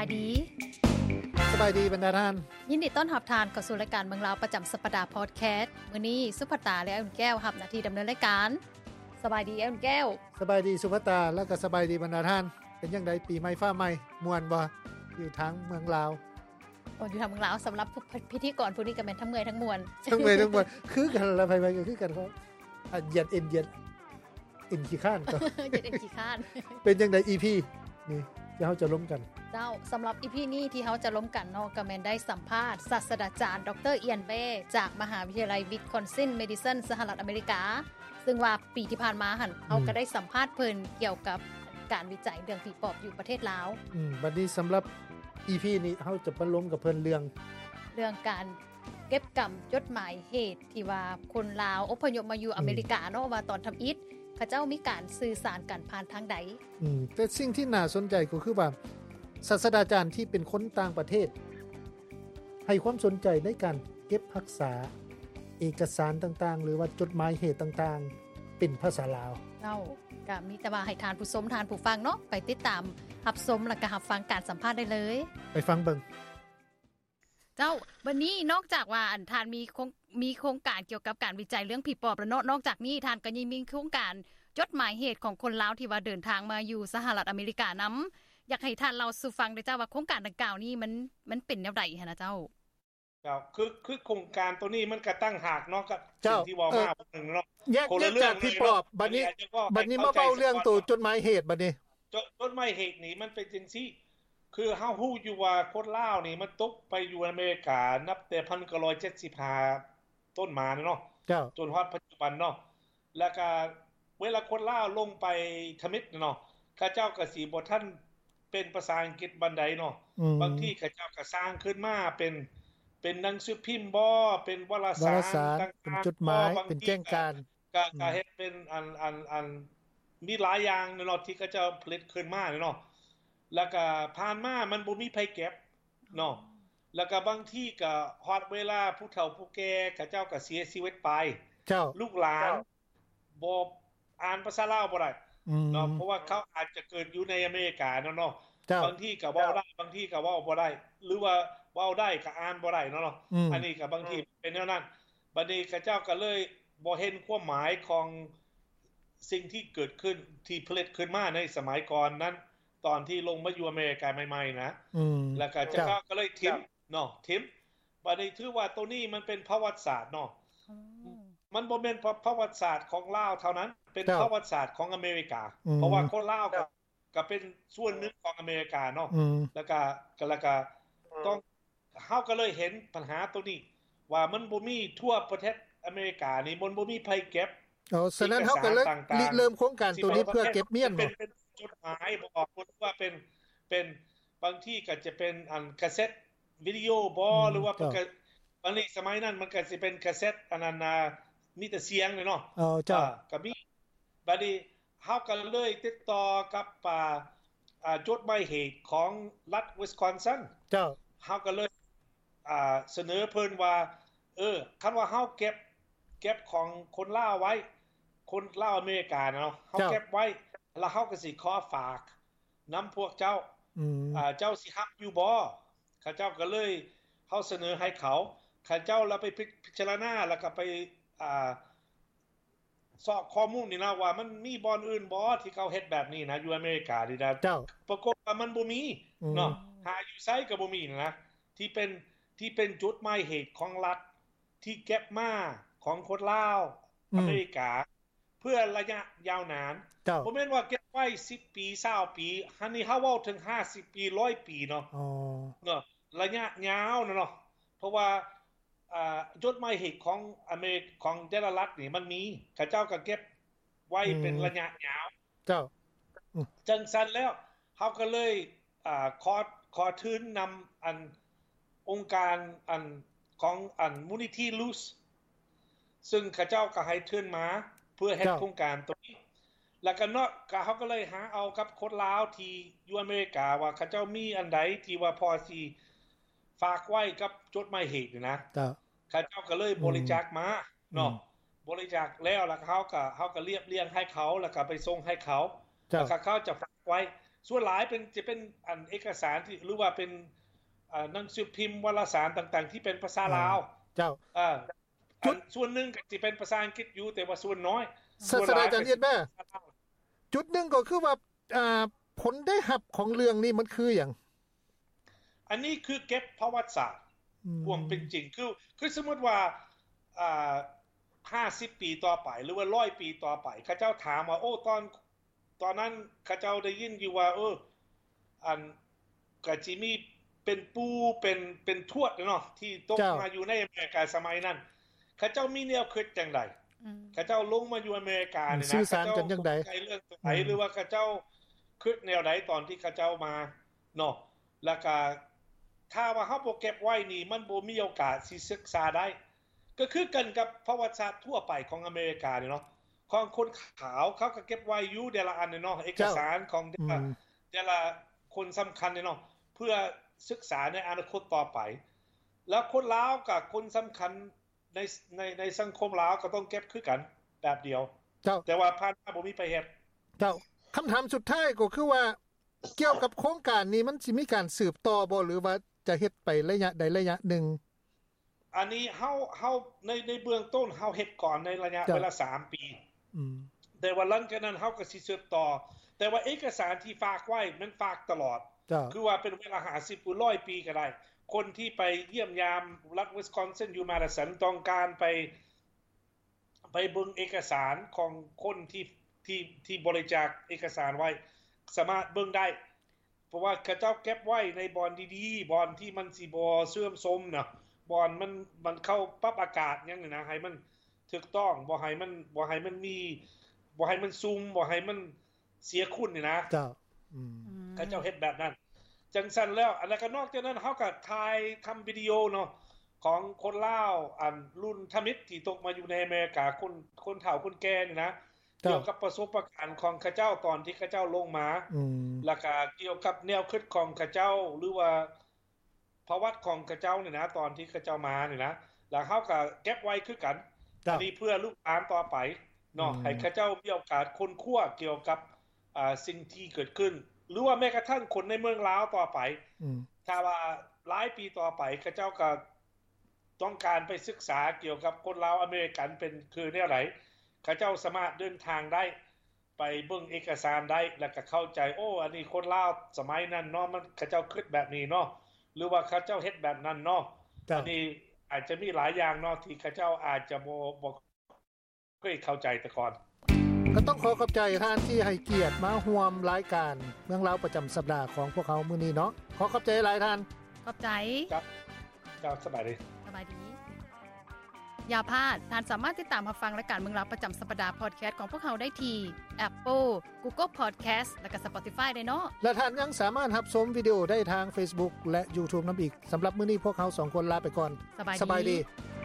ายดี สบายดีบรรดาท่าน ยินดีต้อนรับทานเข้าสู่รายการเมืองลาวประจำสัปดาห์พอดแคสต์มื้อนี้สุภตาและอุ่นแก้วรับหน้าที่ดำเนินรายการสบายดีอุ่นแก้ว สบายดีสุภตาแล้วก็สบายดีบรรดาท่าน เป็นยังไดปีใหม่ฟ้าใหม่มวนบ่อยู่ทางเมืองลาว คนอยู่ทางเมืองลาวสำหรับผู้พิธีกรผู้นี้ก็แม่นทั้งเมื่อยทั้งมวล ทั้งเมยทั้งมวลคือกันละไปไปก็คือกันครับอ่ะเหยียดเอ็นเหยียดเอ็นขี้ข้านก็ จะได้ขี้ข้าน เป็นยังได EP นี่ที่เฮาจะล้มกัน เจ้าสำหรับอีพีนี้ที่เขาจะล้มกันเนอกก็แมนได้สัมภาษณ์ศาสตราจารย์ ดรเอียนเบจากมหาวิทยาลัยวิทคอนซินเมดิซินสหรัฐอเมริกา ซึ่งว่าปีที่ผ่านมาหันเขาก็ได้สัมภาษณ์เพิ่นเกี่ยวกับการวิจัยเรื่องผีปอบอยู่ประเทศลาว อืมบัดนี้สำหรับ EP นี้เฮาจะมาล้มกับเพิ่นเรื่อง เรื่องการเก็บกรรมจดหมายเหตุที่ว่าคนลาวอพยพมาอยู่อเมริกาเนาะว่าตอนทำอิฐเขาเจ้ามีการสื่อสารกันผ่านทางใด อืมแต่สิ่งที่น่าสนใจก็คือว่าศาสตราจารย์ที่เป็นคนต่างประเทศ ให้ความสนใจในการเก็บรักษา เอกสารต่างๆ หรือว่าจดหมายเหตุต่างๆ เป็นภาษาลาว เจ้าก็มีแต่ว่าให้ทานผู้ชมทานผู้ฟังเนาะไปติดตามรับชมและก็รับฟังการสัมภาษณ์ได้เลย ไปฟังเบิง เจ้าวันนี้นอกจากว่าอันทานมีโครงมีโครงการเกี่ยวกับการวิจัยเรื่องผีปอบแล้วเนาะนอกจากนี้ทานก็ยังมีโครงการจดหมายเหตุของคนลาวที่ว่าเดินทางมาอยู่สหรัฐอเมริกานำ อยากให้ท่านเราสู่ฟังด้วยเจ้าว่าโครงการดังกล่าวนี้มันมันเป็นแนวใดหั่นนะเจ้า ครับคือคือโครงการตัวนี้มันก็ตั้งหากเนาะกับสิ่งที่ว่ามาหนึ่งเนาะ แยก คน เรื่องละเรื่อง จากที่ปอบบัดนี้ อันนี้ก็ บัดนี้ ให้ มา เข้าใจ เบ้าเรื่อง ก่อน ตัวจดหมายเหตุบัดนี้ จนต้นไม้เหตุนี้มันเป็นจังซี่ คือเฮาฮู้อยู่ว่าคนลาวนี่มันตกไปอยู่อเมริกานับแต่1975ต้นมาเนาะ เจ้า จนฮอดปัจจุบันเนาะแล้วก็เวลาคนลาวลงไปทมิตเนาะข้าเจ้าก็สิบ่ท่านเป็นภาษาอังกฤษบันไดเนาะ อืม บางที่ข้าเจ้าก็สร้างขึ้นมาเป็นเป็นหนังสือพิมพ์บ่เป็นวารสาาวร รสาร ต่งๆ เป็นจดหมาย บ่บ เป็น ที่ แจ้งการ ก็ อืม ก็เฮ็ดเป็นอันอันอันมีหลายอย่างเนาะที่เขาเจ้าผลิตขึ้นมาเนาะแล้วก็ผ่านมามันบ่มีไผเก็บเนาะแล้วก็บางที่ก็ฮอดเวลาผู้เฒ่าผู้แก่เขาเจ้าก็เสียชีวิตไป เจ้า ลูกหลานบ่อ่านภาษาลาวบ่ได้ อืม เนาะเพราะว่าเขาอาจจะเกิดอยู่ในอเมริกาเนาะเนาะ เจ้า บางที่ก็เว้าได้บางที่ก็เว้าบ่ได้ หรือว่าเว้าได้ก็อ่านบ่ได้เนาะเนาะ อืม นนี้ก็บางทีเป็นแนวนั้นบัดนี้ข้าเจ้าก็เลยบ่เห็นความหมายของสิ่งที่เกิดขึ้นที่ผลิตขึ้นมาในสมัยก่อนนั้น ตอนที่ลงมาอยู่อเมริกาใหม่ๆนะ อืม แล้วก็เจ้าก็เลยทิมเนาะทิมบัดนี้ถือว่าตัวนี้มันเป็นประวัติศาสตร์เนาะ มันบ่แม่นประวัติศาสตร์ของลาวเท่านั้น เป็น ครับ ประวัติศาสตร์ของอเมริกา อืม เพราะว่าคนลาวก็ก็เป็นส่วนหนึ่งของอเมริกาเนาะ อืม แล้วก็ก็แล้วก็ต้องเฮาก็เลยเห็นปัญหาตัวนี้ ว่ามันบ่มีทั่วประเทศอเมริกานี่มันบ่มีไผเก็บ เอาฉะนั้นเฮาก็เลย เอกสารต่างๆ ริเริ่มโครงการตัวนี้เพื่อเก็บเมียน เป็ บ่ นเป็นจดหมายบอกคนว่าเป็นเป็นบางที่ก็จะเป็นอันคาเซ็ตวิดีโอบ่หรือว่าเป็นก็บางทีสมัยนั้นมันก็สิเป็นคาเซ็ตอันนั้นน่ะมีแต่เสียงเลยเนาะ เอาเจ้า อ่ก็มีบัดนี้เฮาก็เลยติดต่อกับอ่าอ่าจดหมายเหตุของรัฐวิสคอนซิน เจ้า เฮาก็เลยอ่าเสนอเพิ่นว่า เออคันว่าเฮาเก็บเก็บของคนลาวไว้ คนลาวอเมริกาน่ะเนาะเฮา เจ้า เก็บไว้ แล้วเฮาก็สิขอฝากนำพวกเจ้า อืม อ่าเจ้าสิฮับอยู่บ่เขาเจ้าก็เลยเฮาเสนอให้เขาเขาเจ้าแล้วไปพิพิจารณาแล้วก็ไปอ่าสอบข้อมูลนี่นะว่ามันมีบอนอื่นบ่ที่เขาเฮ็ดแบบนี้นะอยู่อเมริกานี่นะ เจ้า ปรากฏว่ามันบ่มี อืม เนาะหาอยู่ไสก็บ่มีนะนะที่เป็นที่เป็นจุดหมายเหตุของรัฐที่เก็บมาของคนลาวอเมริกา เพื่อระยะยาวนาน เจ้า บ่แม่นว่าเก็บไว้ 10 ปี20ปีอันนี้เฮาเว้าถึง 50 ปี100 ปีเนาะ อ๋อ เนาะระยะยาวนะเนาะเพราะว่าอ่าจดหมายเหตุของอเมริกของแต่ละรัฐนี่มันมีเขาเจ้าก็เก็บไว้ อืม เป็นระยะยาว เจ้า จังซั่นแล้วเฮาก็เลยอ่าขอขอทืนนำอันองค์การอันของอันมูลนิธิ Luz ซึ่งเขาเจ้าก็ให้ทืนมาเพื่อเฮ็ด เจ้า โครงการตัวนี้ แล้วก็เนาะก็เขาก็เลยหาเอากับคนลาวที่อยู่อเมริกาว่าเขาเจ้ามีอันใดที่ว่าพอสิฝากไว้กับจดหมายเหตุนี่นะ เจ้า เขาเจ้าก็เลยบริจาคมาเนาะ อืม บริจาคแล้วแล้วเขาก็เขาก็เรียบเรียงให้เขาแล้วก็ไปส่งให้เขา เจ้า แล้วก็เขาจะฝากไว้ ส่วนหลายเป็นจะเป็นอันเอกสารที่หรือว่าเป็นอ่าหนังสือพิมพ์วารสารต่าง ๆ ที่เป็นภาษาลาว เจ้า อ่า จุด อันส่วนหนึ่งก็จะเป็นภาษาอังกฤษอยู่แต่ว่าส่วนน้อย ศาสดาจารย์เอียดแม่จุดหนึ่งก็คือว่าอ่าผลได้หับของเรื่องนี่มันคืออย่าง อันนี้คือเก็บประวัติศาสตร์ อืม ความเป็นจริงคือคือสมมติว่าอ่าห้าสิบปีต่อไป หรือว่าร้อยปีต่อไปเข้าเจ้าถามว่า โอ้ตอน ตอนนั้นเข้าเจ้าได้ยินอยู่ว่า เอออันกะจิมีเป็นปูเป็นเป็นทวดเนาะที่ตก เจ้าม มาอยู่ในอเมริกาสมัยนั้นเข้าเจ้ามีแนวคิดจังได อืม เข้าเจ้าลงมาอยู่อเมริกาเนี่ยนะ สื่อสารกันจังใด เข้าเจ้าสนใจเรื่องไหน อืม หรือว่าเข้าเจ้าคิดแนวไหนตอนที่เข้าเจ้ามาเนาะ แล้วก็ถ้าว่าเฮาบ่เก็บไว้นี่มันบ่มีโอกาสสิศึกษาได้ ก็คือกันกับประวัติศาสตร์ทั่วไปของอเมริกาเนี่ยเนาะของคนขาวเขาก็เก็บไว้อยู่เดยวละอันเนี่ยเนาะเอกสารของเดยว อื ละ ม เดยวละคนสำคัญเนี่ยเนาะเพื่อศึกษาในอนาคตต่อไป แล้วคนลาวกับคนสำคัญในในในสังคมลาวก็ต้องเก็บคือกันแบบเดียว เจ้า แต่ว่าผ่านมาบ่มีไปเฮ็ด เจ้าคำถามสุดท้ายก็คือว่า เกี่ยวกับโครงการนี้มันสิมีการสืบต่อบ่หรือว่าจะเฮ็ดไประยะใดระยะหนึ่ง อันนี้เฮาเฮาในในเบื้องต้นเฮาเฮ็ดก่อนในระยะ จ้ะ เวลาสามปี อืม แต่ว่าหลังจากนั้นเฮาก็สิสืบต่อ แต่ว่าเอกสารที่ฝากไว้มันฝากตลอด เจ้า คือว่าเป็นเวลา50หรือ100 ปีก็ได้ คนที่ไปเยี่ยมยามรัฐวิสคอนซินอยู่มาดสันต้องการไป ไปเบิ่งเอกสารของคนที่ที่ที่บริจาคเอกสารไว้ สามารถเบิ่งได้ เพราะว่าเขาเจ้าเก็บไว้ในบอนดีๆบอนที่มันสิบ่เสื่อมโทรมนะบอนมันมันเข้าปรับอากาศหยังนี่นะให้มันถูกต้องบ่ให้มันบ่ให้มันมีบ่ให้มันซุ่มบ่ให้มันเสียคุณนี่นะ เจ้า อืม อืม เขาเจ้าเฮ็ดแบบนั้น จังซั่นแล้วอันแล้วก็นอกจากนั้นเฮาก็ถ่ายทำวิดีโอเนาะของคนลาวอันรุ่นทมิตรที่ตกมาอยู่ในอเมริกาคนคนเฒ่าคนแก่นี่ครันะบ เกี่ยวกับประสบการณ์ของเขาเจ้าตอนที่เขาเจ้าลงมา อืม แล้วก็เกี่ยวกับแนวคิดของเขาเจ้าหรือว่าประวัติของเขาเจ้าเนี่ยนะ ตอนที่เขาเจ้ามาเนี่ยนะแล้วเฮาก็เก็บไว้คือกัน อั เจ้า นนี้เพื่อลูกหลานต่อไปเนาะ อืม ให้ข้าเจ้ามีโอกาสค้นคว้าเกี่ยวกับอ่าสิ่งที่เกิดขึ้น หรือว่าแม้กระทั่งคนในเมืองลาวต่อไป อืม ถ้าว่าหลายปีต่อไปข้าเจ้าก็ต้องการไปศึกษาเกี่ยวกับคนลาวอเมริกันเป็นคือแนวไหนข้าเจ้าสามารถเดินทางได้ ไปเบิ่งเอกสารได้แล้วก็เข้าใจโอ้ อันนี้คนลาวสมัยนั้นเนาะมันข้าเจ้าคิดแบบนี้เนาะหรือว่าข้าเจ้าเฮ็ดแบบนั้นเนาะ เจ้า อันนี้อาจจะมีหลายอย่างเนาะที่ข้าเจ้าอาจจะบ่บ่เคยเข้าใจแต่ก่อน ก็ต้องขอขอบใจท่านที่ให้เกียรติมาห่วมรายการเมืองเล่าประจำสัปดาห์ของพวกเขามื้อนี้เนาะ ขอขอบใจหลายท่าน ขอบใจ ครับเจ้าสบายดี สบายดี อย่าพลาด ท่านสามารถติดตามรับฟังรายการเมืองราวประจำสัปดาห์พอดแคสต์ของพวกเราได้ที่ Apple Google Podcast และก็ Spotify ได้เนาะ และท่านยังสามารถรับชมวิดีโอได้ทาง Facebook และ YouTube นำอีกสำหรับมื้อนี้พวกเขาสองคนลาไปก่อน สบายดี สบายดี